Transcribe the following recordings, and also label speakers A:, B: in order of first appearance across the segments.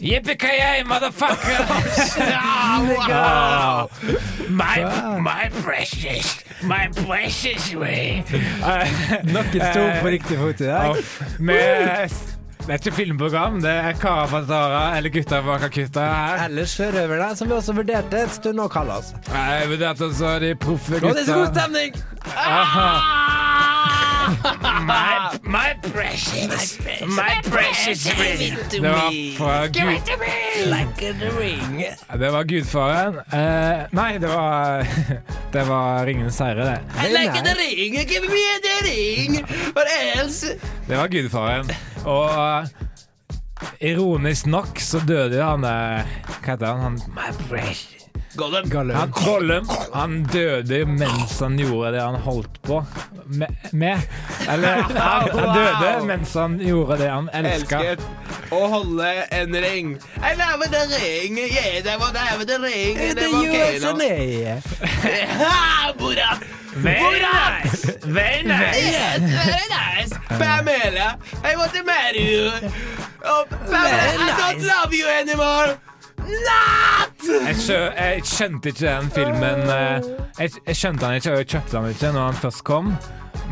A: Yippee-ki-yay, motherfucker!
B: wow.
A: My, my precious, my precious way. Eh,
B: Nok et stort på riktig fot i dag.
A: Med, det er ikke filmprogram, det er Kara Patara eller gutta bak Akuta her.
B: Eller sjørøverne, som vi også vurderte en stund å kalle oss.
A: Jeg vurderte også altså de proffe
B: Nå er det så god
A: gutta.
B: stemning!
A: My, my precious, my precious ring. Det var fra Gud... Det var Gudfaren. Eh, nei, det var Det var Ringenes herre, det.
B: I like the
C: ring, give me the ring, what else?
A: Det var Gudfaren. Og eh, ironisk nok så døde jo han eh, Hva heter han? han My precious
C: Gollum.
A: Han Gollum han døde mens han gjorde det han holdt på med. med. Eller han, han døde mens han gjorde det han elska.
C: Elsket å holde en ring. I love the ring, yeah, that was I love the ring.
B: Det
C: that was okay,
B: gjør
C: no.
B: nei.
C: Ah, Buddha.
A: Very nice! Very nice!
C: Yes, very nice. Pamela, I want to marry you. Oh, Pamela,
B: Very
C: I don't
B: nice.
C: love you anymore. Not!
A: Jeg, skjø, jeg skjønte ikke den filmen eh, jeg, jeg skjønte han ikke, og jeg kjøpte han ikke når han først kom.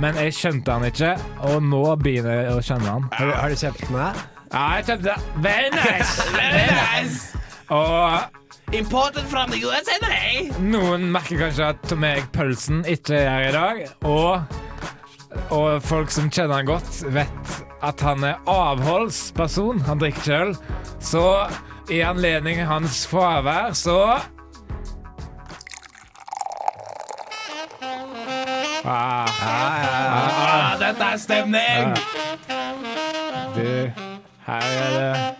A: Men jeg skjønte han ikke, og nå begynner jeg å skjønne han.
B: Har, du- har du kjøpt den her?
A: Ja, jeg kjøpte den. Very nice!
C: Very nice.
A: Og
C: Imported from the USA, nei.
A: noen merker kanskje at Tom Erik Pølsen ikke er her i dag. Og, og folk som kjenner han godt, vet at han er avholdsperson. Han drikker ikke øl. Så i anledning hans fravær, så ah.
C: Ah, dette er stemning.
A: Du, her er det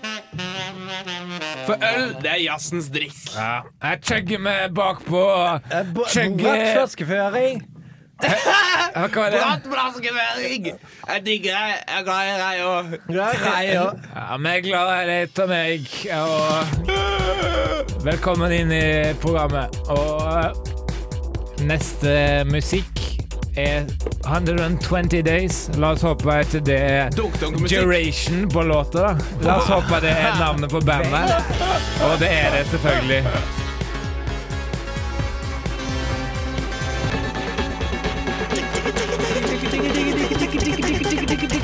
C: For øl, det er jazzens drikk.
A: ja. Jeg chugger med bakpå. Eh,
B: Eh, Bratt
A: Chugger
B: flaskeføring.
A: Hva var det?
C: Bratt blaskevering. Jeg digger deg. Jeg er glad i deg òg.
B: Nei, ja.
A: Ja, vi er glad i deg, Tom Erik. Og velkommen inn i programmet. Og neste musikk er 120 Days. La oss håpe at det er
C: Dunk-dunk-musikk.
A: duration på låta. da. La oss håpe det er navnet på bandet. Og det er det selvfølgelig.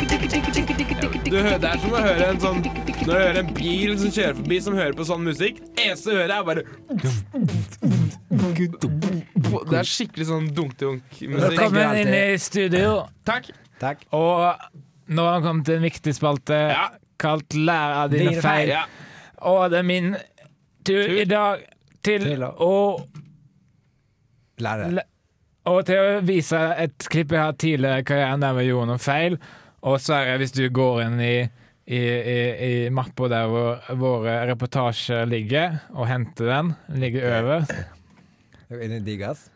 C: Du hø- Det er som å høre en sånn Når du hører en bil som kjører forbi, som hører på sånn musikk. Eneste du hører, er bare Det er skikkelig sånn dunk-dunk-musikk.
A: Velkommen inn i studio.
C: Takk.
B: Takk.
A: Og nå har han kommet til en viktig spalte
C: Ja.
A: kalt Lær av dine
B: Dine feil.
A: feil.
C: Ja.
A: Og det er min tur i dag til
B: Til å-
A: å
B: Lærer.
A: Læ- Og til å vise et klipp jeg har tidligere i karrieren der vi gjorde noen feil. Og Sverre, hvis du går inn i, i, i, i mappa der hvor våre reportasjer ligger, og henter den, den ligger øverst
B: Inn i digg, ass.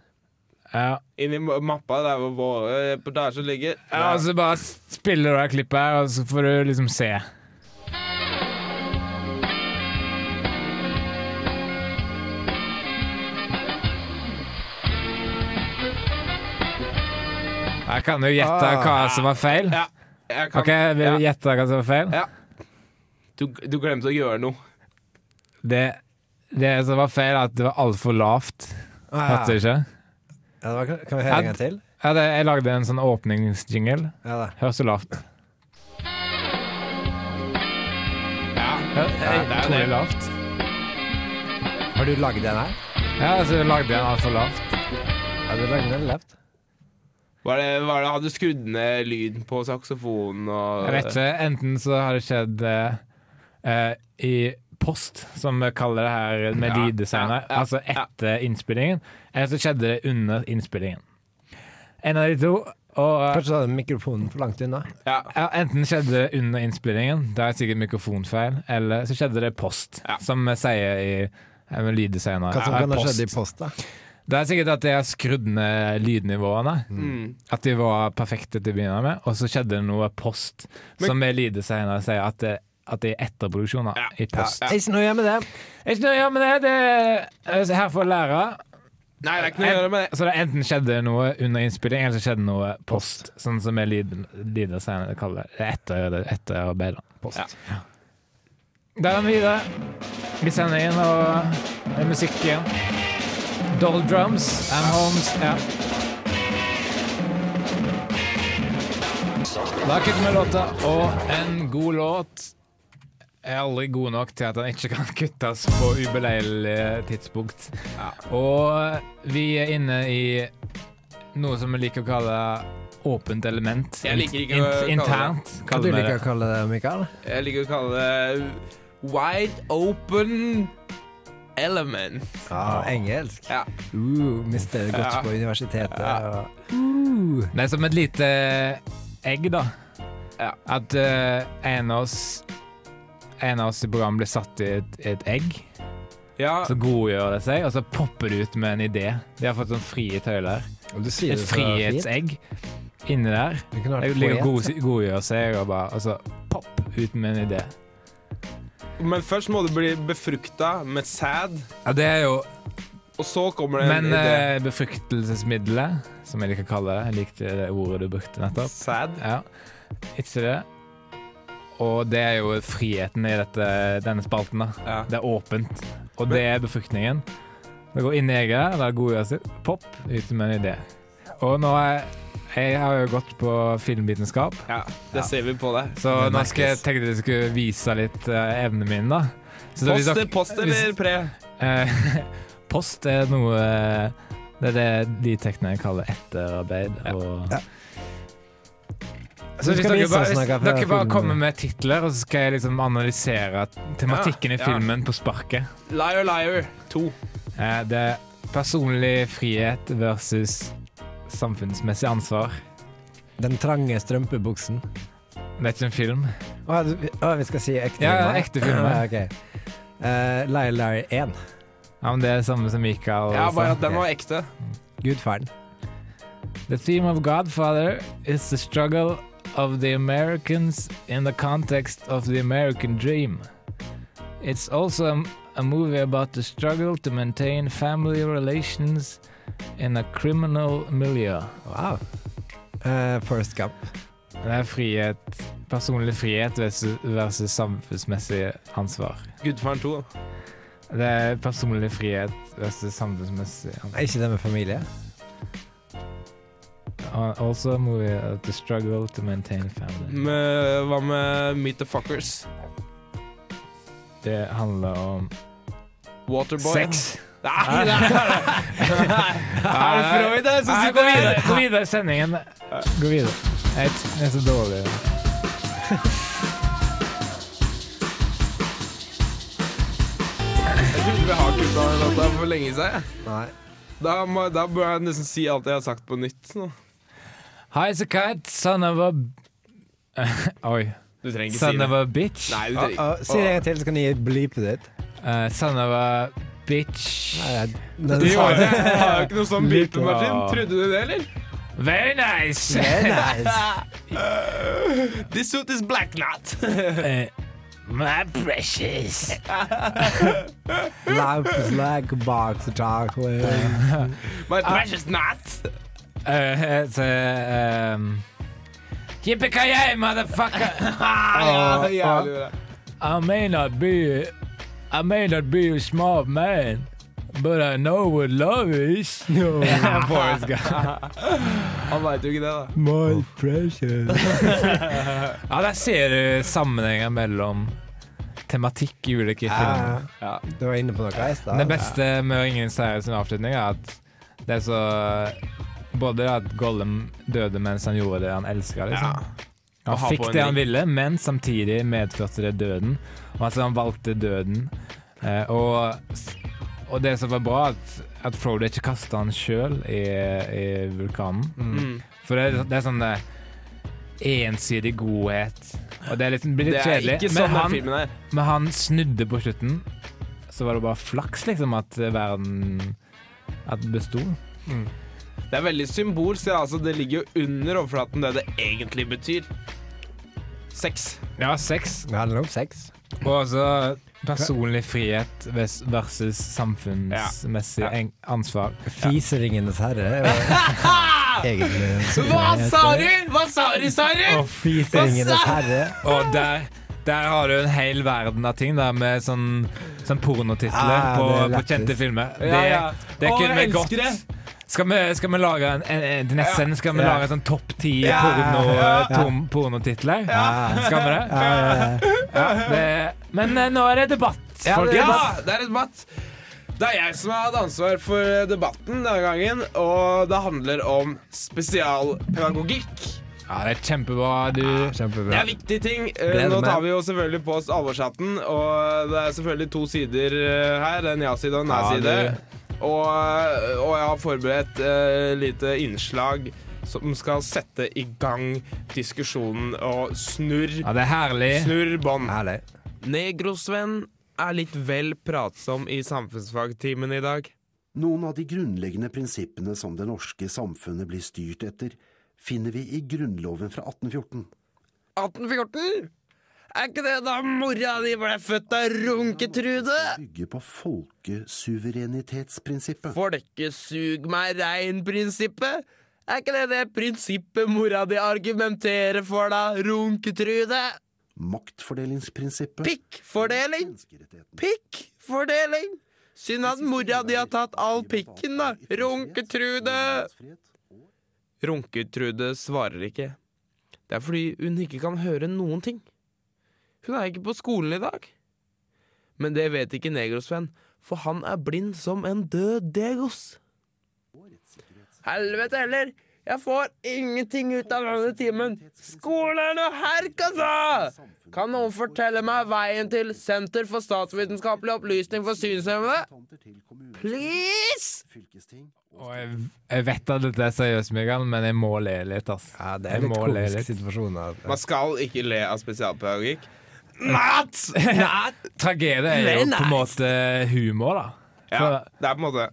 A: ja.
C: Inni ma- mappa der hvor våre reportasjer ligger.
A: ja, Og så bare spiller du det klippet her, og så får du liksom se. Jeg kan jo gjette
B: Ah.
A: hva som var feil.
C: Ja, jeg kan
A: Ok, vil du
C: ja.
A: gjette hva som var feil?
C: Ja. du, du glemte å gjøre noe.
A: Det, det som var feil, er at det var altfor lavt.
B: Ah,
A: Hørte du
B: ja.
A: ikke?
B: Ja, det var- kan vi høre en gang til?
A: Ja, det, jeg lagde en sånn åpningsjingle.
B: Ja da.
A: Høres så lavt.
C: Ja,
A: Ja,
C: det er jo
A: utrolig
C: det.
A: lavt.
B: Har du lagd den her?
A: Ja, så lagde jeg den altfor lavt.
B: Har du lagd den levd?
C: Var det, var det, hadde du skrudd ned lyden på saksofonen og
A: Jeg vet ikke. Enten så har det skjedd eh, eh, i post, som vi kaller det her med
C: Ja,
A: lyddesignet,
C: ja, ja,
A: altså
C: ja.
A: etter innspillingen, eller så skjedde det under innspillingen. En av de to. Og
B: Kanskje du hadde mikrofonen for langt unna?
C: Ja.
A: Ja, Enten skjedde det under innspillingen, da er det sikkert mikrofonfeil, eller så skjedde det post,
C: Ja.
A: som vi sier i eh, med lyddesignere.
B: Hva som
A: Ja,
B: kan ha
A: post.
B: skjedd i post, da?
A: Det er sikkert at de har skrudd ned lydnivåene.
C: Mm.
A: At de var perfekte til å begynne med, og så skjedde det noe post,
C: Men-
A: som vi lyddesignere sier at det, at det er etterproduksjoner
C: Ja.
A: i post.
C: Ja.
B: Ikke noe å gjøre med det.
A: Det er Ikke noe å gjøre med det, det er her for å lære.
C: Nei, det er ikke noe å gjøre med det.
A: Så det er enten skjedde noe under innspilling, eller så skjedde noe post, sånn som vi lyd, lyddesignere kaller det. Det er Etter, etterarbeid. da.
B: Post.
A: Der er vi videre. Vi sender inn og eh, musikk igjen. Doll drums, Am Holmes ja. Da kutter vi låta, og en god låt er aldri god nok til at den ikke kan kuttes på ubeleilig tidspunkt. Og vi er inne i noe som vi liker å kalle åpent element.
C: Jeg liker ikke å kalle det-
A: internt.
B: Hva du
A: kaller vi det.
B: liker å kalle det, Mikael?
C: Jeg liker å kalle det Wide Open Element.
B: Ja, engelsk.
C: Ja.
B: Uh, mister godt
C: Ja.
B: på universitetet.
C: Ja.
B: og- Uh.
A: Det er som et lite egg, da.
C: Ja.
A: At eh, en av oss En av oss i programmet blir satt i et, et egg.
C: ja.
A: Så godgjør det seg, og så popper det ut med en idé. De har fått sånn frie tøyler.
B: Og Du sier
A: Et
B: det så fint.
A: frihetsegg inni der.
B: Du kunne
A: Det
B: vært
A: ligger
B: poet.
A: god, godgjør seg og bare Og så popp ut med en idé.
C: Men først må du bli befrukta med sæd,
A: Ja, det er jo
C: og så kommer det en
A: Men
C: idé.
A: eh, befruktelsesmiddelet, som jeg liker å kalle det Jeg likte det ordet du brukte
C: eh,
A: nettopp.
C: Sæd.
A: Ja, ikke det. Og det er jo friheten i dette, denne spalten. da.
C: Ja.
A: Det er åpent. Og det er befruktningen. Det går inn i egget, det er godgjør sitt. Pop, ut med en idé. Og nå er jeg har jo gått på filmvitenskap,
C: ja. Det ser vi på deg.
A: så
B: Det
A: nå skal jeg
B: merkes.
A: tenke at jeg skulle vise litt eh, evnene mine, da. Så hvis
C: Post,
A: dere-
C: post
A: hvis-
C: eller pre?
A: Eh, post er noe eh, Det er det de tekene jeg kaller etterarbeid. Og,
B: Ja.
A: Så
B: Du
A: hvis
B: skal
A: dere
B: vise
A: bare,
B: oss noe
A: hvis
B: fra
A: dere bare
B: filmen.
A: kommer med titler, og så skal jeg liksom analysere tematikken
C: Ja,
A: i
C: ja.
A: filmen på sparket.
C: Liar, liar. To.
A: Eh, det er personlig frihet versus samfunnsmessig ansvar.
B: Den trange strømpebuksen.
A: Det er ikke en film.
B: Å, du- å, vi skal si ekte
A: Ja, ja,
B: filmer?
A: ekte filmer.
B: Ja, ok. Eh, Liar Liar 1.
A: Ja, men det er det samme som Michael.
C: Ja,
A: sa.
C: bare at den var ekte.
B: Gudfaren.
A: The theme of Godfather is the struggle of the Americans in the context of the American dream. It's also a, a movie about the struggle to maintain family relations in a criminal milieu.
B: Wow. Eh, Forrest Gump.
A: Det er frihet, personlig frihet versus, versus samfunnsmessig ansvar.
C: Gudfaren 2. da.
A: Det er personlig frihet versus samfunnsmessig ansvar.
B: Er ikke det med familie?
A: Uh, Also a movie about the struggle to maintain family.
C: Med, hva med Meet the Fuckers?
A: Det handler om
C: Waterboy?
A: sex.
C: Nei, nei, nei. Er det Freud der som
A: Nei,
C: skal gå
A: det-
C: videre?
A: Gå videre i sendingen. Gå videre. Jeg t- jeg er så dårlig.
C: Jeg trodde vi har kutta den låta for lenge siden.
B: Nei.
C: Da, må, da bør jeg nesten si alt jeg har sagt på nytt. Nå.
A: High as a kite, son of a Oi.
C: Du trenger
A: Son of a bitch.
C: Nei, du
B: Å,
C: trenger
B: å, si det en gang til, så kan Ah, jeg bleepe det ut.
A: Eh, son of a bitch.
B: Nei, jeg-
C: Du
B: den sa
C: har
B: det.
C: jo har jo ikke noe sånn beepemaskin.
A: Litt, ja.
C: Trodde du det, eller?
A: Very nice!
B: Very nice.
C: This suit is black knot.
A: Eh, My precious.
B: Life is like a box of chocolate.
C: My precious knot.
A: Eh, så, ehm, Yippee-ki-yay, motherfucker!
C: Ja,
A: Og- og-
C: jævlig bra.
A: I may not be, I may not be a smart man, but I know what love is. No, Forrest Gump.
C: Han veit jo ikke det, da.
B: My precious.
A: Ja, der ser du sammenhenger mellom tematikk i ulike filmer.
B: Ja,
C: Ja.
B: du var inne på noe i stad.
A: Det beste med Ingen seier sin avslutning er at det er så Både at Gollum døde mens han gjorde det han elska, liksom.
C: Og ha
A: Han fikk
C: på en
A: det han
C: ring.
A: ville, men samtidig medførte det døden. Og altså, han valgte døden. Eh, og, og det som var bra, at, at Frodo ikke kasta han sjøl i, i vulkanen.
C: Mm.
A: For det, er- det er sånn eh, ensidig godhet. Og det er litt, blir
C: Det
A: litt
C: er
A: kjedelig.
C: ikke
A: men,
C: sånn den
A: han,
C: filmen er.
A: men han snudde på slutten. Så var det bare flaks, liksom, at eh, verden At den besto.
C: Det er veldig symbolsk. ja, Altså, det ligger jo under overflaten, det det egentlig betyr. Sex.
A: Ja, sex.
B: Det handler om sex.
A: Og også personlig frihet vers- versus samfunnsmessig
C: Ja. Ja.
A: en- ansvar.
B: Fiseringenes herre. er jo Egentlig.
C: Hva sa du?! Hva sa du, Sari?!
B: Fiseringenes herre.
A: Og der Der har du en hel verden av ting der med sånn, sånn pornotitler
B: Ah,
A: på,
B: det er
A: på
B: lættis.
A: kjente filmer. Det,
C: Ja, ja.
A: det
C: Å,
A: kunne
C: jeg
A: vi godt
C: elsker det!
A: Skal vi, skal vi lage en, en, en til neste
C: Ja.
A: sending skal vi
B: Ja.
A: lage en sånn topp ti
C: Ja.
A: porno, eh,
C: Ja.
A: tom- pornotitler?
B: Ja.
A: Skal vi det?
B: Ja, ja,
A: det? Men eh, nå er det debatt,
C: Ja, det
A: folkens.
C: er debatt. Det er debatt. Det er jeg som har hatt ansvar for eh, debatten denne gangen, og det handler om spesialpedagogikk.
A: Ja, det er kjempebra. Du
B: ja.
C: Det
B: Kjempebra.
C: er viktige ting. Eh,
B: Gleder
C: Nå
B: meg.
C: tar vi jo selvfølgelig på oss alvorshatten, og det er selvfølgelig to sider eh, her. En ja-side og en
A: Ja,
C: nei-side. Og, eh, og jeg har forberedt eh, lite innslag som skal sette i gang diskusjonen, og snurr,
A: Ja, det er herlig.
C: snurr bånd.
B: Herlig.
C: Negrosvenn er litt vel pratsom i samfunnsfagtimen i dag.
D: Noen av de grunnleggende prinsippene som det norske samfunnet blir styrt etter, finner vi i Grunnloven fra 1814.
C: 1814? Er ikke det da mora di ble født av Runketrude?
D: Bygger på folkesuverenitetsprinsippet.
C: Folkesug meg rein-prinsippet? Er ikke det det prinsippet mora di argumenterer for, da, Runketrude?
D: Maktfordelingsprinsippet.
C: Pikkfordeling?
D: Menneskerettighetene.
C: Pikkfordeling? Synd at mora di har tatt all pikken, da, Runketrude. Runketrude svarer ikke. Det er fordi hun ikke kan høre noen ting. Hun er ikke på skolen i dag. Men det vet ikke Negrosvenn, for han er blind som en død Degos. Helvete heller! Jeg får ingenting ut av denne timen. Skolen er noe herk, altså! Kan noen fortelle meg veien til Senter for statsvitenskapelig opplysning for synshemmede? Please!
D: Fylkesting
A: Og jeg, jeg vet at dette er seriøst, Miguel, men jeg må le litt, ass.
B: Ja, det er
A: jeg
B: litt
A: må le
B: komisk
A: litt.
B: situasjon. at-
C: Man skal ikke le av spesialpedagogikk.
A: Tragedie er jo på en måte humor, da.
C: Ja, det er på en måte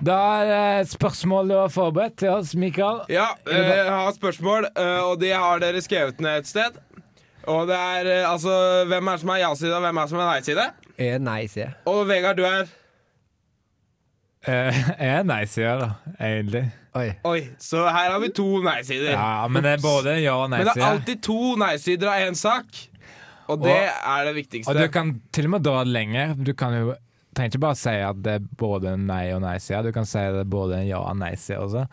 A: Da er det et spørsmål du har forberedt til oss, Mikael.
C: Ja, eh, jeg har spørsmål, eh, og de har dere skrevet ned et sted. Og det er eh, altså Hvem er det som er ja-side, og hvem er det som er nei-side?
B: Eh, Nei, sier jeg.
C: Og Vegard, du er
A: Eh, Jeg er nei-sida, da, egentlig.
B: Oi.
C: Oi, så her har vi to nei-sider.
A: Ja, men det er både ja- og
C: Men det er
A: nei-sida.
C: alltid to nei-sider av én sak. Og det er det viktigste.
A: Og du kan til og med dra det lenger. Du kan jo trenger ikke bare si at det er både en nei- og nei-side, du kan si at det er både en ja- og nei-side også.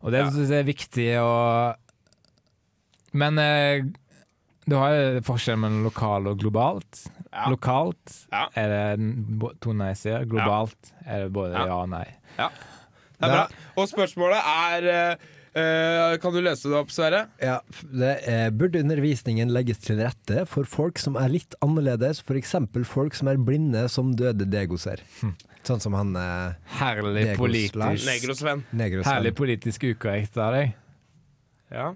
A: Og det synes jeg er viktig å Men eh, du har jo forskjell mellom lokal og globalt.
C: Ja.
A: Lokalt
C: Ja.
A: er det n- bo- to nei-sider, globalt er det både
C: Ja.
A: ja, og nei.
C: Det er bra. Og spørsmålet er eh, eh, Kan du løse det opp, Sverre?
B: Ja, f- det er, Burde undervisningen legges til rette for folk som er litt annerledes, f.eks. folk som er blinde som døde degoser?
A: Hm.
B: Sånn som han eh,
A: Herlig
B: Negros Lars.
A: politisk,
C: Negrosvenn.
B: Negros.
A: herlig politisk ukorrekt av deg.
C: Ja.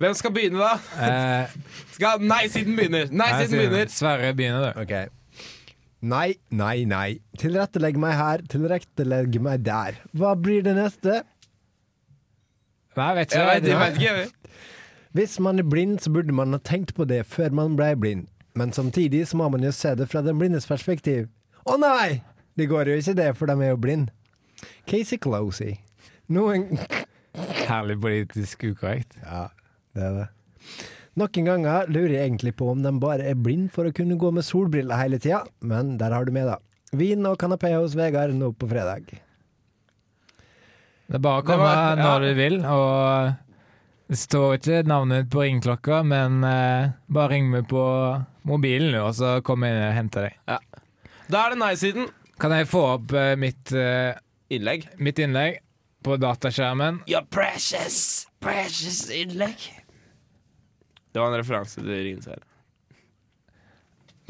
C: Hvem skal begynne, da?
A: Eh,
C: Skal Nei-siden begynner. Nei-siden begynner.
A: Sverre begynner, du.
B: Ok. Nei, nei, nei. Tilrettelegg meg her, tilrettelegg meg der. Hva blir det neste?
A: Nei, jeg vet ikke.
C: Jeg vet, jeg
A: Nei.
C: vet ikke. jeg.
B: Hvis man er blind, så burde man ha tenkt på det før man ble blind. Men samtidig så må man jo se det fra den blindes perspektiv. Å nei! Det går jo ikke det, for de er jo blind. Casey Closey. Noen
A: Herlig politisk ukorrekt.
B: Ja, det er det. Noen ganger lurer jeg egentlig på om de bare er blind for å kunne gå med solbriller hele tida, men der har du med, da. Vin og kanapé hos Vegard nå på fredag.
A: Det er bare å
C: Det
A: komme
C: var- ja.
A: når du vil, og det står ikke navnet ditt på ringeklokka, men eh, bare ring meg på mobilen, nå, og så kommer jeg inn og henter deg.
C: Da er det nei-siden.
A: Kan jeg få opp eh, mitt, eh,
C: Innlegg.
A: mitt innlegg på dataskjermen?
C: Your precious, precious innlegg. Det var en referanse til Rins her.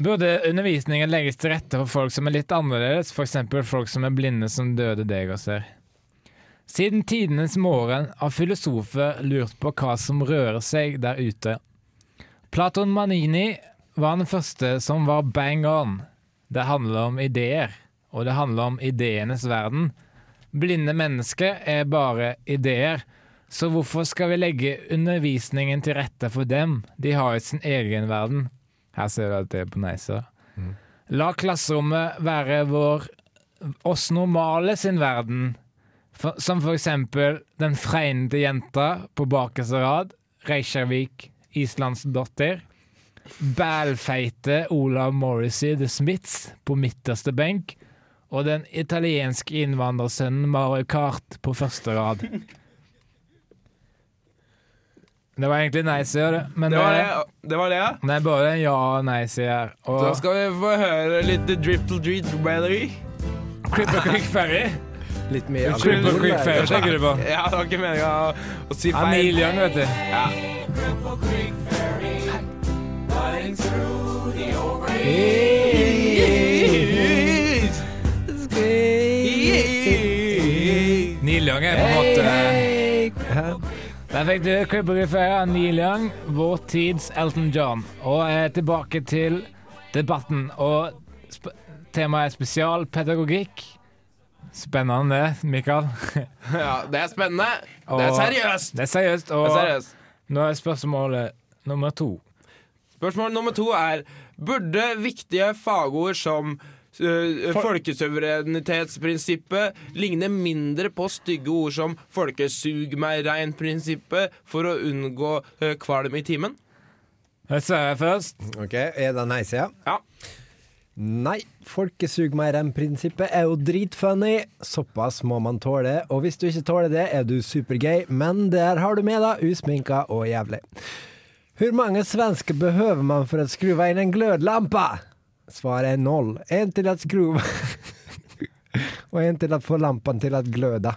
A: Burde undervisningen legges til rette for folk som er litt annerledes, f.eks. folk som er blinde som døde deg og ser? Siden tidenes morgen har filosofer lurt på hva som rører seg der ute. Platon Manini var den første som var bang on. Det handler om ideer, og det handler om ideenes verden. Blinde mennesker er bare ideer, så hvorfor skal vi legge undervisningen til rette for dem? De har jo sin egen verden. Her ser du at det er på neisa.
C: Mm.
A: La klasserommet være vår oss normale sin verden. For, som for eksempel den fregnete jenta på bakerste rad, Reykjavik islandsdotter. Bælfeite Olav Morrissey The Smiths på midterste benk. Og den italienske innvandrersønnen Mario Kart på første rad. Det var egentlig nei-sida, det. Men
C: Det var det, det var det, ja.
A: det er bare en ja- og nei-side her. Og
C: Da skal vi få høre litt Dripple Dreet Weathery.
A: Cripple Creek Ferry.
B: Litt mer
A: Cripple
B: alkohol.
A: Creek Ferry tenker du på.
C: Ja, det var ikke meninga å, å si feil.
A: Amelian, vet du. Neil Young er på en måte
B: Hæ?
A: Der fikk du Cribberifera av Neil Young, vår tids Elton John. Og eh, tilbake til debatten. Og sp temaet er spesialpedagogikk. Spennende, Mikael.
C: Ja, det er spennende. Det er
A: Og-
C: seriøst.
A: Det er seriøst.
C: Det
A: Og
C: er seriøst.
A: nå er spørsmålet nummer to.
C: Spørsmål nummer to er Burde viktige fagord som øh, folkesuverenitetsprinsippet ligne mindre på stygge ord som folkesug meg rein-prinsippet for å unngå øh, kvalm i timen?
A: Sverre først.
B: Ok, er det nei-sida?
C: Ja.
B: Nei, folkesug meg rem-prinsippet er jo dritfunny. Såpass må man tåle. Og hvis du ikke tåler det, er du supergay, men der har du med deg usminka og jævlig. Hvor mange svensker behøver man for å skru inn en glødlampe? Svaret er null. En til å skru Og en til å få lampen til å gløde.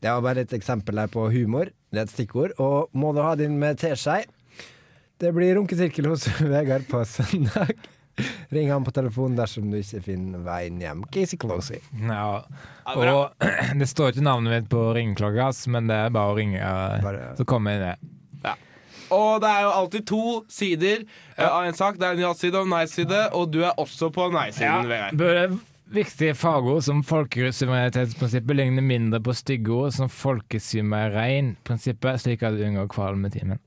B: Det var bare et eksempel her på humor. Det er et stikkord. Og må du ha din med teskei? Det blir runkesirkel hos Vegard på søndag. Ring han på telefonen dersom du ikke finner veien hjem. Casey Closey.
A: Ja.
C: bra.
A: Og det står ikke navnet mitt på ringeklokka, ass, men det er bare å ringe, eh,
B: Bare-
A: så kommer jeg ned.
C: Og det er jo alltid to sider øh, av en sak. Det er en ja-side og en nei-side, og du er også på
A: Ja,
C: nei-siden, Vegard.
A: burde viktige fagord som folkesuverenitetsprinsippet ligne mindre på stygge ord som folkesuverein-prinsippet, slik at du unngår kvalm i timen.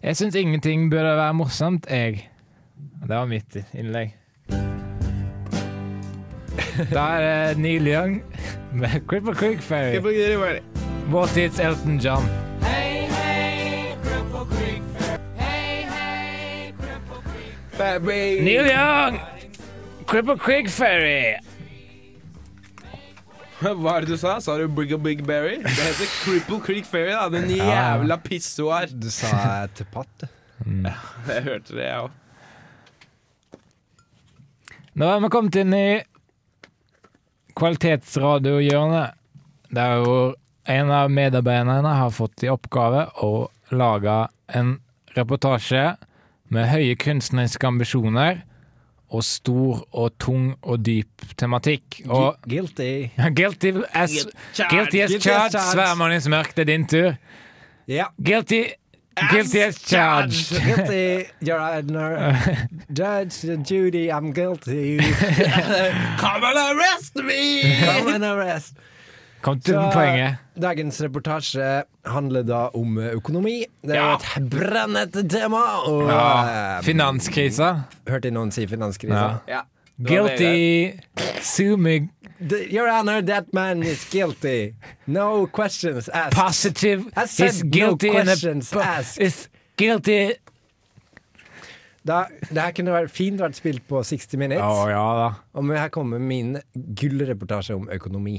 A: Jeg syns ingenting burde være morsomt, jeg. Det var mitt innlegg. Da er det Neil Young med Cripple Creek Ferry. Vår tids Elton John. Neil Young! Cripple Creek Ferry.
C: Hva er det du sa? Sa du Brigga Big Berry? Det heter Cripple Creek Ferry, da. Den jævla pissoar.
B: Du sa til patt.
C: Jeg hørte det, jeg òg.
A: Nå har vi kommet inn i kvalitetsradiohjørnet, der hvor en av medarbeiderne har fått i oppgave å lage en reportasje med høye kunstneriske ambisjoner og stor og tung og dyp tematikk. Og
B: Guilty.
A: guilty as, guilty as charged, Svermannis mørk, det er din tur.
B: Ja.
A: Guilty, guilty as charged.
B: Guilty, your honor. Judge Judy, I'm guilty.
C: Come and arrest me!
B: Come and arrest.
A: Kom til poenget.
B: Dagens reportasje handler da om eh, økonomi. Det er jo et brennete tema. Og
A: Ja,
B: eh,
A: Finanskrisa.
B: hørte jeg noen si finanskrisa?
A: Ja.
C: Ja.
A: Guilty Sue me
B: The- Your honor, that man is guilty. No questions asked.
A: positive
B: I said
A: is
B: no
A: guilty in a
B: questions
A: po-
B: asked.
A: is guilty
B: Da, det her kunne vært fint vært spilt på 60 Minutes.
A: ja da.
B: Og men her kommer min gullreportasje om økonomi.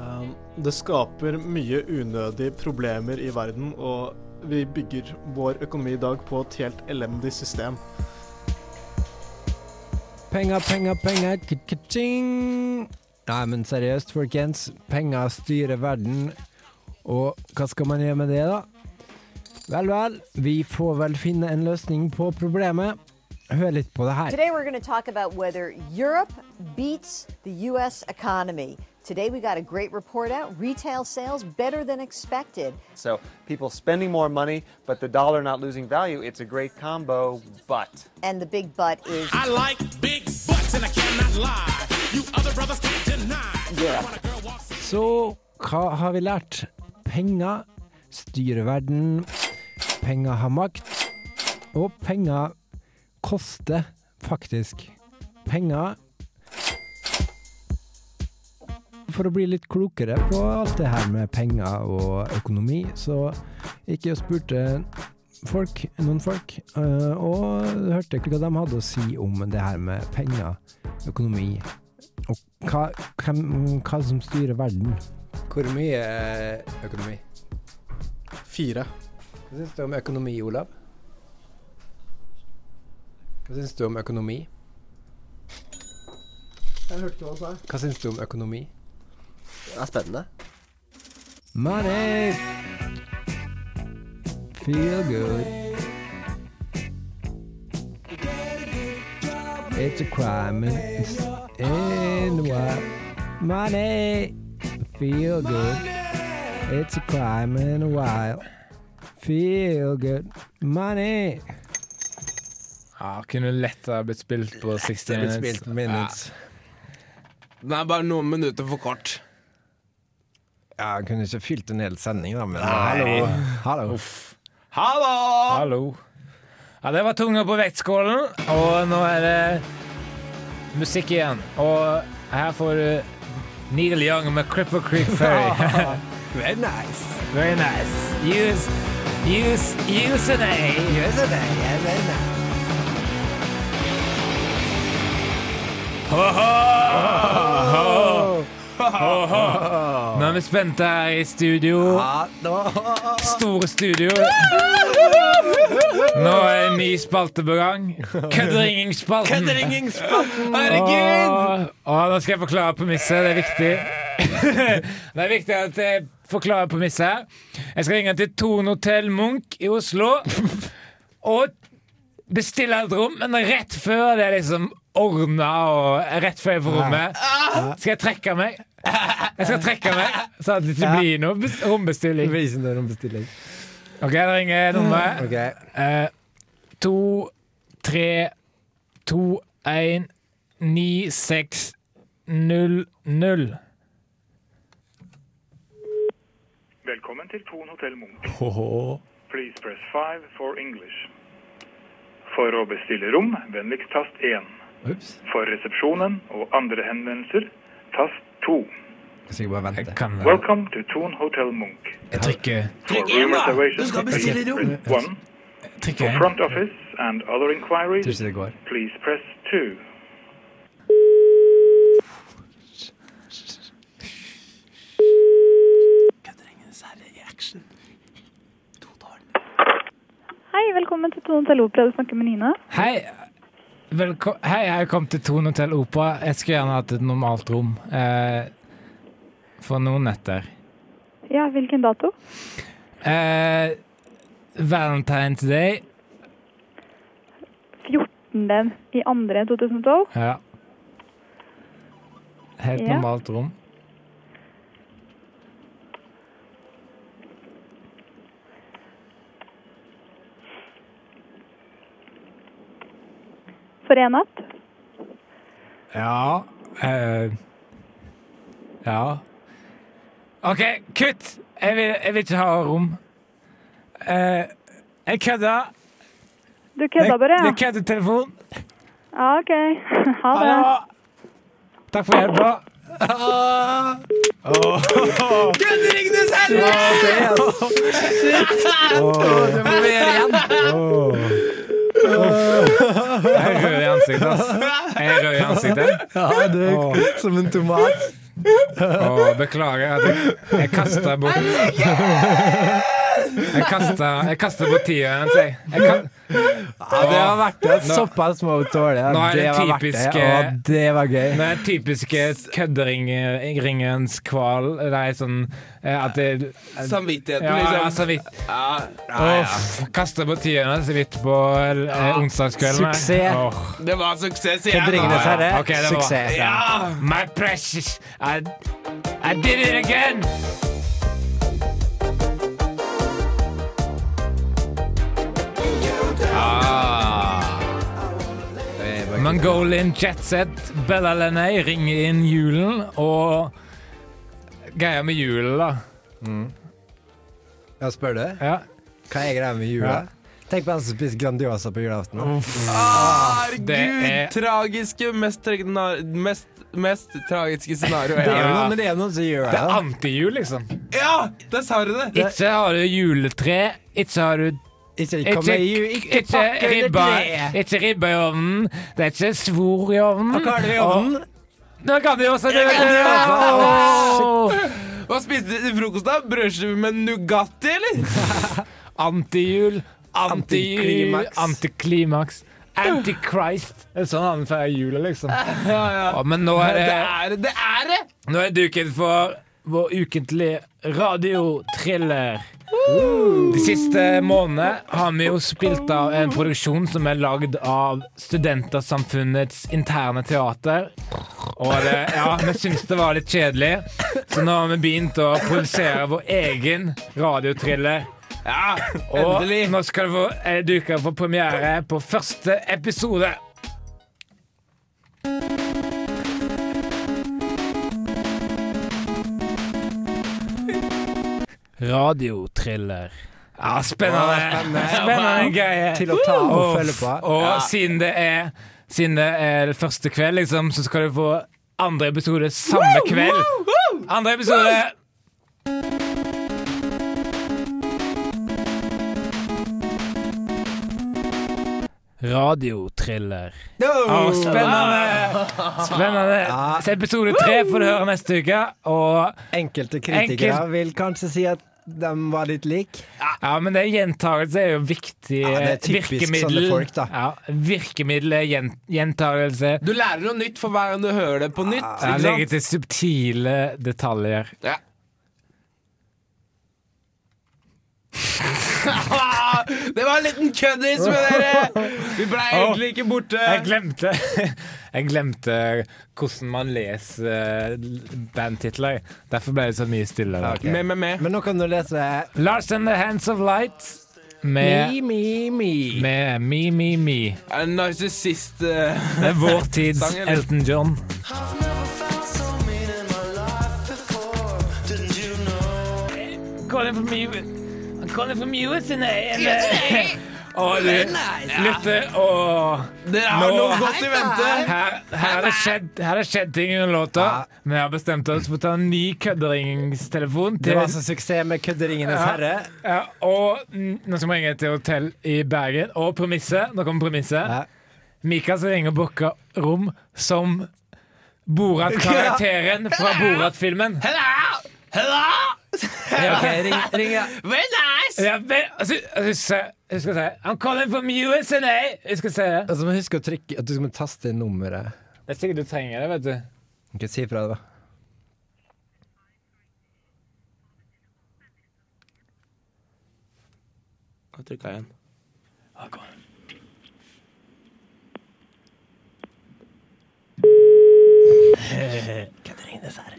E: Um, Det skaper mye unødige problemer i verden, og vi bygger vår økonomi i dag på et helt elendig system.
B: Penger, penger, penger, ka-ka-ching. Nei, men seriøst, folkens. Penger styrer verden. Og hva skal man gjøre med det, da? Vel, vel. Vi får vel finne en løsning på problemet. Hør litt på det her.
F: Today we're going to talk about whether Europe beats the U.S. economy. Today we got a great report out. Retail sales better than expected.
G: So people spending more money, but the dollar not losing value. It's a great combo, but.
F: And the big but is
H: I like big butts and I cannot lie. You other brothers can't deny.
B: Så hva har vi lært? Penger styrer verden. Penger har makt. Og penger koster faktisk. Penger for å bli litt klokere på alt det her med penger og økonomi, så gikk jeg og spurte folk, noen folk, eh, og hørte hva de hadde å si om det her med penger, økonomi, og hva, hvem, hva som styrer verden.
I: Hvor mye eh, økonomi?
E: Fire.
I: Hva syns du om økonomi, Olav? Hva syns du om økonomi?
E: Jeg hørte hva han sa.
I: Hva syns du om økonomi? Det er spennende.
B: Money! Feel good. It's a crime. and It's in what? Money! Feel good. It's a crime in a while. Feel good. Money!
A: Ja, kunne lett ha blitt spilt på 60
I: Blitt
A: minutes.
I: spilt minutes.
J: Den er bare noen minutter for kort.
B: Ja, jeg kunne ikke fylt en hel sending, da, men hallo. hallo.
A: Ja.
J: Hallo!
A: Hallo. Ja, det var tunga på vektskålen, og nå er det musikk igjen. Og her får du Neil Young med Cripple Creek Ferry.
B: Very nice.
A: Very nice. Use, use, use eh. an A.
B: Yes, it is. Yes, very nice.
A: Nå er vi spente her i studio.
B: Ja, da.
A: Store studio. Nå er en ny spalte på gang.
C: Mm.
A: Kødderingingspalten. Herregud! nå skal jeg forklare premisset. Det er viktig. det er viktig at jeg forklarer premisset her. Jeg skal ringe til Tone Hotell Munch i Oslo og bestille et rom, men rett før det er liksom ordna og rett før jeg får rommet, skal jeg trekke meg. Jeg skal trekke meg, sånn at det ikke blir noe bes- rombestilling.
B: Visen der om bestilling.
A: OK, det ringer nummeret.
B: Ok.
A: Eh, to, tre, to, én, ni, seks, null, null.
K: Velkommen til Thon Hotel Munch. Please press 5 for English. For å bestille rom, vennligst tast 1.
B: Ups.
K: For resepsjonen og andre henvendelser, tast 2.
B: Jeg skal bare vente.
A: Kan være.
K: Welcome to Thon Hotel Munch.
A: Jeg trykker
K: For room reservations,
A: bestille
K: press 1.
A: trykker
K: For
A: jeg.
K: front office and other
B: Tror
K: inquiries,
B: ikke det går.
K: please press 2.
L: Hei, velkommen til Tone Hotel Opera. Du snakker med Nina.
A: Hei. Velko Hei, jeg kom til Tone Hotel Opera. Jeg skulle gjerne hatt et normalt rom. Eh, for noen netter.
L: Ja, hvilken dato?
A: Eh, Valentine's Day.
L: 14. i andre 2012.
A: Ja. Helt
L: Ja.
A: normalt rom.
L: For en natt.
A: Ja eh, Ja. OK, kutt! Jeg vil, jeg vil ikke ha rom. Eh, jeg kødda.
L: Du kødda
A: Det
L: bare,
A: det
L: ja?
A: er køddetelefon.
L: Ja, OK. Ha
A: Ha
L: det.
A: det bra. Takk for hjelpa. Jeg er rød i ansiktet, ass. Jeg er rød i ansiktet.
B: Ja, det er som en tomat.
A: Og beklager at jeg, jeg kasta bort Jeg kasta, jeg kasta bort tida hans, jeg. jeg kan,
B: Ja, det har vært det. Såpass må vi tåle.
A: altså. Nå er det
B: har vært
A: typisk,
B: det.
A: eh,
B: Ja, det var gøy.
A: den typiske kødderingerens kval Nei, sånn eh, at det
J: Samvittigheten,
A: Ja, altså,
J: liksom.
A: ja, så vidt.
J: Ja,
A: Uff, Kasta bort tida hans så vidt på eh, onsdagskvelden. her.
B: Suksess.
A: Åh.
J: det var suksess igjen.
A: Ja,
B: Ringenes
A: ja.
B: herre.
A: Ok, det eh? var-
B: Suksess.
J: Ja!
A: My precious, I, I did it again! Ah. Mongolian jetset, Bella Lenay ringer inn julen, og greia med julen, da.
B: Ja, spør du?
A: Ja.
B: Hva er greia med jula? Tenk på han som spiser Grandiosa på julaften.
J: Herregud!
A: Det er-
J: Tragiske, mest, regna- mest
C: mest tragiske scenarioet.
A: Det er jo noe med
B: det som gjør
A: Det er antijul, liksom.
C: Ja, der sa du det!
A: Ikke har du juletre, ikke har du
B: Ikke,
C: kom med ju- ikke pakke under
A: ribba,
C: treet.
A: ikke ribba i ovnen, det er ikke svor i ovnen.
C: Hva er det i ovnen?
A: Og- Nå kan du jo også
C: Jeg kan
A: Åh!
C: det. Hva spiste du til frokost, da? Brødskive med Nugatti, eller?
A: Antijul, Ah. antijul,
C: Antiklimaks.
A: antiklimaks. Antichrist. Det er sånn han feirer jula, liksom. Å, men nå er
C: Det
A: det
C: er det! det er det.
A: Nå er duken for vår ukentlige radiotriller. De siste månedene har vi jo spilt av en produksjon som er lagd av Studentersamfunnets interne teater. Og det, ja, vi syntes det var litt kjedelig, så nå har vi begynt å produsere vår egen radiotriller. Ja, og nå skal du få, eh, duke for premiere på første episode. Radiotriller. Ja, spennende.
B: Å, spennende.
A: Spennende greie.
B: Til å ta og
A: Uff.
B: følge på.
A: Og
B: Ja.
A: siden, det er, siden det er første kveld, liksom, så skal du få andre episode samme kveld. Andre episode. Radiotriller. Å, spennende! Spennende. Så episode tre får du høre neste uke. Og
B: Enkelte kritikere
A: Enkelt-
B: vil kanskje si at de var litt like.
A: Ja, men det er gjentakelse er jo viktig
B: Ja, det er typisk
A: virkemiddel.
B: sånne folk, da.
A: Ja, virkemiddel er gjen, gjentakelse.
C: Du lærer noe nytt for hver gang du hører det på nytt.
A: Ja,
C: ikke
A: legge
C: sant?
A: til subtile detaljer.
C: Ja. det var en liten køddis med dere! Vi ble egentlig ikke borte.
A: Jeg glemte Jeg glemte hvordan man leser eh, bandtitler. Derfor ble det så mye stille. der.
B: Ok. Men nå kan du lese
A: Lars and the Hands of Light med
B: Me, me, me.
A: med Me, Me, Me.
C: Er det narsissist eh,
A: Det er vår tids
C: sang, eller?
A: Elton John. Calling from you. I'm calling from you tonight. And, uh, og du lytter og
C: Dere har
A: Nå-
C: noe godt i vente.
A: Her her har det skjedd, her har det skjedd ting under låta. Vi har bestemt oss for å ta en ny kødderingstelefon.
B: Det
A: til-
B: var så suksess med Kødderingenes herre.
A: Ja, ja, og mm, nå skal vi ringe til hotell i Bergen. Og premisset. Nå kommer premisset. Mikael som ringer og booker rom som Borat-karakteren fra Borat-filmen.
C: Hello!
A: Ja, ok, ring, ring, ja.
C: Very nice!
A: Ja, men, altså, altså, jeg skal si I'm calling from USA! Jeg skal si det.
B: Altså, men husk å trykke at du skal taste inn nummeret.
A: Det er sikkert du trenger det, vet du.
B: Ikke si fra, da.
C: Jeg trykka igjen.
A: Katarina Sær.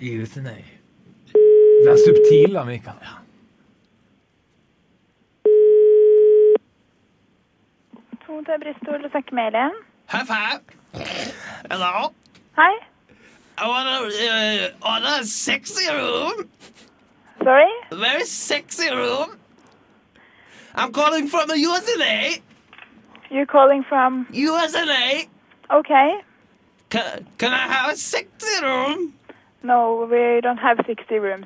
A: Vær subtil, da, Mikael.
L: To til Bristol og snakke med Elin.
C: High five. Hello.
L: Hei.
C: I want to uh, order a sexy room.
L: Sorry?
C: A very sexy room. I'm calling from the USA.
L: You're calling from...
C: USA.
L: Okay.
C: Can, can I have a sexy room?
L: No, we don't have 60 rooms.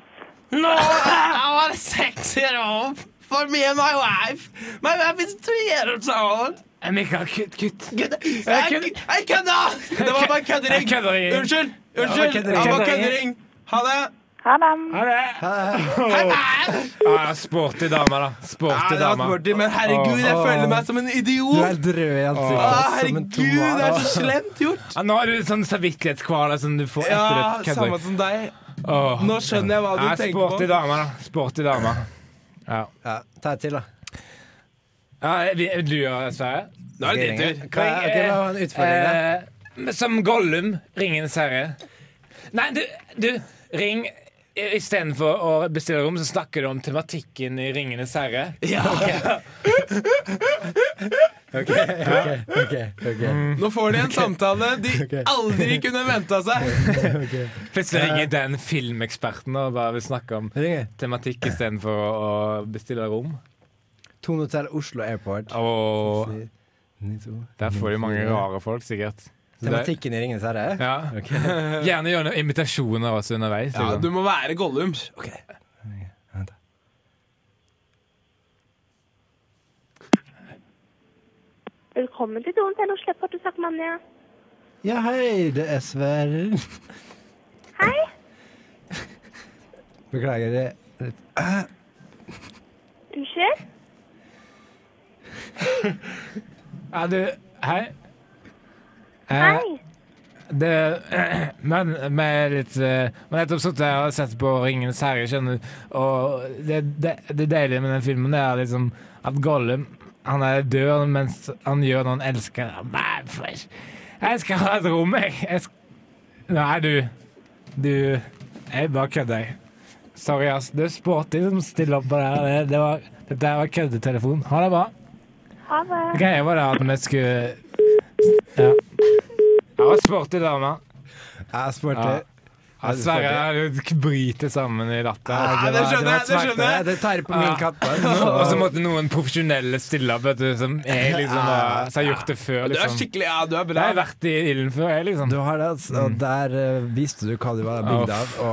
C: No, I want a sexy room for me and my wife. My wife is three years old.
A: Eh, Mikael, kutt, kutt.
C: Jeg kød- jeg kødda! Det var bare en køddering.
A: Jeg køddering.
C: Unnskyld.
A: var
C: Unnskyld.
A: køddering.
C: Det var køddering.
A: Køddering.
C: Ha det.
L: Ha dem.
A: Ha det. Ja, sporty dame, da.
C: Ja,
A: Sporty
C: det var
A: dame.
C: sporty, men herregud, jeg føler meg som en
B: Du
C: idiot.
B: er helt rød i ansiktet.
C: Å,
B: som en
C: herregud,
B: tomat.
C: det er så slemt gjort.
A: Ja, nå er du sånn samvittighetskvale som du får etter
C: Ja,
A: et
C: samme
A: kødderi.
C: som deg.
A: Åh.
C: Nå skjønner jeg hva du
A: Ja,
C: tenker på.
A: Sporty dame, da. Sporty dame. Ja.
B: Ja, ta et til, da.
A: Ja, vi- du gjør Sverre?
C: Nå er det din tur.
B: Hva, ok, hva var en utfordring, da?
A: Eh, som Gollum, Ringenes herre. Nei, du, du ring Istedenfor å bestille rom, så snakker du om tematikken i Ringenes herre.
C: Ja.
B: Ok, ok, ok, ok.
C: Nå får de en samtale de aldri kunne venta seg.
A: Plutselig
C: Eh.
A: ringer den filmeksperten og bare vil snakke om
B: Ringer.
A: tematikk istedenfor å å bestille rom.
B: Tone Hotel Oslo Airport.
A: Og
B: Ni, to.
A: der får de mange rare folk, sikkert.
B: Tematikken i Ringenes herre?
A: Ja. Gjerne gjør noen imitasjoner også underveis.
J: Ja,
A: liksom.
J: du må være Gollum. Ok.
M: Velkommen til Don Tello Slepppartusak Manja.
B: Ja, hei, det er Sverre.
M: Hei.
B: Beklager det. Ah,
M: Unnskyld?
A: Ja, du, hei. Eh,
M: Hei.
A: Det, men vi er litt eh, Vi har nettopp sittet her og sett på 'Ringenes herre', skjønner du. Og det, det, det deilige med den filmen det er liksom at Gollum han er død mens han gjør noe han elsker. Han bare, «Fresh. Jeg skal ha et rom, jeg. jeg sk Nei, du. Du Jeg bare kødder. Sorry, ass. Du er sporty som stiller opp på det her. Det, det var, dette her var køddetelefon. Ha det bra.
M: Ha det.
A: Greia var det at vi skulle Ja. Jeg var sporty dame.
B: Jeg sporty.
A: Ja. Ja, Sverre jeg bryter sammen i latter.
B: Ja, det skjønner jeg, det
A: var
B: skjønner jeg.
A: smerte.
B: Det tærer på min altså.
A: Ja.
B: kappe.
A: Og så måtte noen profesjonelle stille opp, vet du, som jeg liksom har, som har gjort det før.
J: Du er
A: Liksom.
J: skikkelig Ja, du er
A: Jeg
J: bra.
A: har vært i ilden før, jeg, liksom.
B: Du har det, altså. Og der eh, viste du hva du var bygd
A: Ja,
B: av,
A: uff.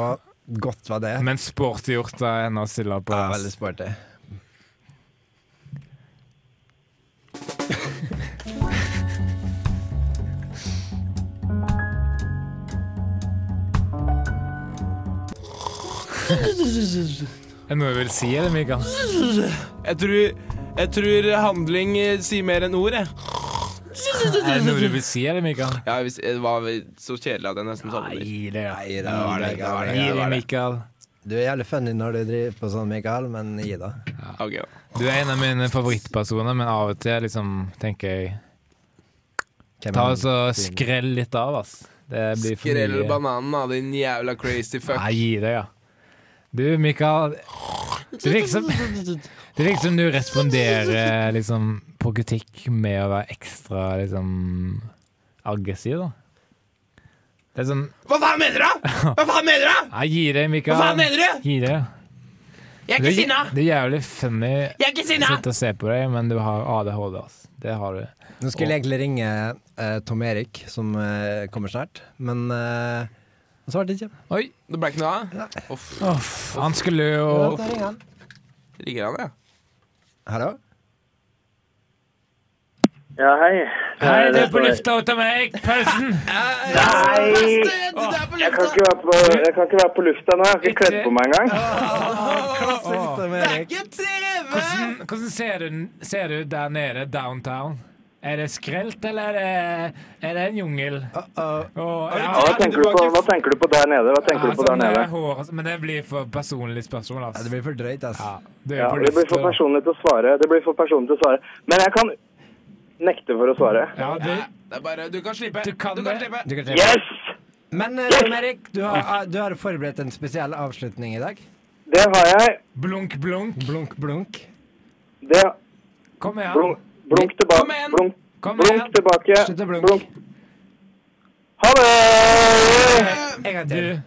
B: og godt var det.
A: Men sporty gjort av henne å stille opp.
B: Ja, veldig sporty.
A: Er det noe du vil si, eller, Mikael?
J: Jeg tror, jeg tror handling eh, sier mer enn ord, jeg.
A: Er det noe du vil si, eller, Mikael?
J: Ja, hvis, det var så kjedelig at jeg nesten sovner.
A: Nei, det
J: det var det. det, var det,
B: Gi
J: det, var det.
A: Mikael.
B: Du er jævlig funny når du driver på sånn, Mikael, men gi da.
J: Ok, ja.
A: Du er en av mine favorittpersoner, men av og til liksom, tenker jeg
B: Hvem
A: Ta
B: er
A: og så
B: din-
A: skrell litt av, ass. Det blir for
J: Skrell
A: mye.
J: bananen, da, din jævla crazy fuck.
A: Nei, gi deg, ja. Du, Mikael. Det virker som, det virker som du responderer liksom, på kritikk med å være ekstra liksom, aggressiv, da. Det er sånn
J: Hva faen mener du?! Hva faen mener du?!
A: Nei, gi deg, Mikael.
J: Hva faen mener du?
A: Gi deg.
J: Jeg er
A: Du
J: ikke sinna!
A: Det er jævlig funny
J: Jeg er ikke sinna!
A: å sitte og se på deg, men du har ADHD, ass. Det har du.
B: Nå skulle jeg egentlig ringe eh, Tom Erik, som eh, kommer snart, men eh, han svarte ikke.
A: Oi,
J: det ble ikke noe av? Uff.
A: Uff, han skulle jo
B: Ja, da ringer han.
J: Ringer han, ja?
B: Hallo?
G: Ja, hei.
A: Hei, du er på lufta, Tom Erik Pølsen!
G: Nei! Jeg kan ikke være på, jeg kan ikke være på lufta nå. Jeg har ikke kledd på meg engang.
A: Hvordan, hvordan ser, du, ser du der nede, downtown? Er det skrelt, eller er det, er det en jungel? uh. Åh, ja,
G: Hva tenker, du på, hva tenker du på der nede? Hva tenker du på
A: sånn,
G: der nede?
A: eh, hår og så- men det blir for personlig spørsmål, altså. Ja, det
B: blir for drøyt, altså.
A: det
G: Ja, det blir for personlig til å svare. Det blir for personlig til å svare. Men jeg kan nekte for å svare.
J: Det er bare Du kan slippe. Du kan, slippe.
B: Du kan se.
G: Yes!
B: Men eh, Tom Erik, du har, eh, du har forberedt en spesiell avslutning i dag.
G: Det har jeg.
A: Blunk, blunk.
B: Blunk, blunk.
G: Det
A: Kom igjen.
G: Blunk, blunk tilbake. Blunk, blunk tilbake. Blunk. Ha det!
A: En gang til.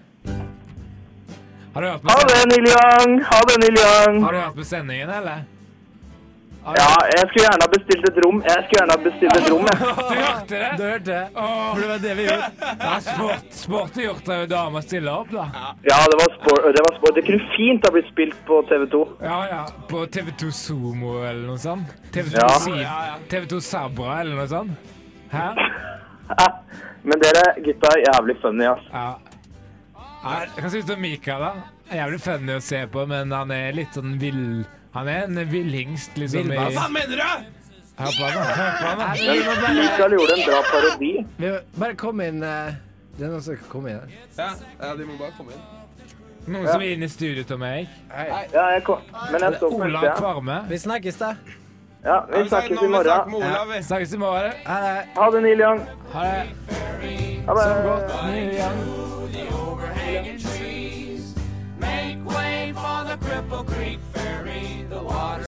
A: Har du hørt på
G: Ha det, Neil Young! Ha det, Neil Young!
A: Har du hørt på sendingen, eller?
G: Ja, jeg skulle gjerne ha bestilt et rom. Jeg skulle gjerne ha bestilt et rom, jeg.
A: Du hørte det? Du hørte det. For det var det vi gjorde. Ja, sport, sport er gjort av damer stiller opp, da.
G: Ja, det var sport. Det, var sport. det kunne fint ha blitt spilt på TV 2.
A: Ja, ja. På TV2 Sumo eller noe sånt? TV2,
G: Ja.
A: Siv, TV2 Sabra eller noe sånt? Hæ?
G: Men dere gutta er jævlig funny, ass.
A: Ja. Ja, Hva syns du om Mikael, da? Er Jævlig funny å se på, men han er litt sånn vill... Han er en villhingst, liksom. i-
J: Hva faen mener du?!
A: Hør på han, da. Hør på han, da.
B: Men Mikael
G: gjorde en bra parodi.
B: Vi må bare kom inn. eh, Det er noen som kommer inn her.
J: Ja, ja, de må bare komme inn.
A: Noen
B: Ja.
A: som er inne i studio til meg?
G: Ja, jeg kom. Men jeg så på
A: Olav
G: utsida.
A: Kvarme.
B: Vi snakkes, da.
G: Ja, vi
J: sånn?
G: snakkes i morgen.
A: Ja. Snakkes i morgen.
B: Ha det.
G: Ha det, Neil Young.
A: Ha det.
G: Ha det.
A: Sov godt. Neil Young.
N: Make way for the Cripple Creek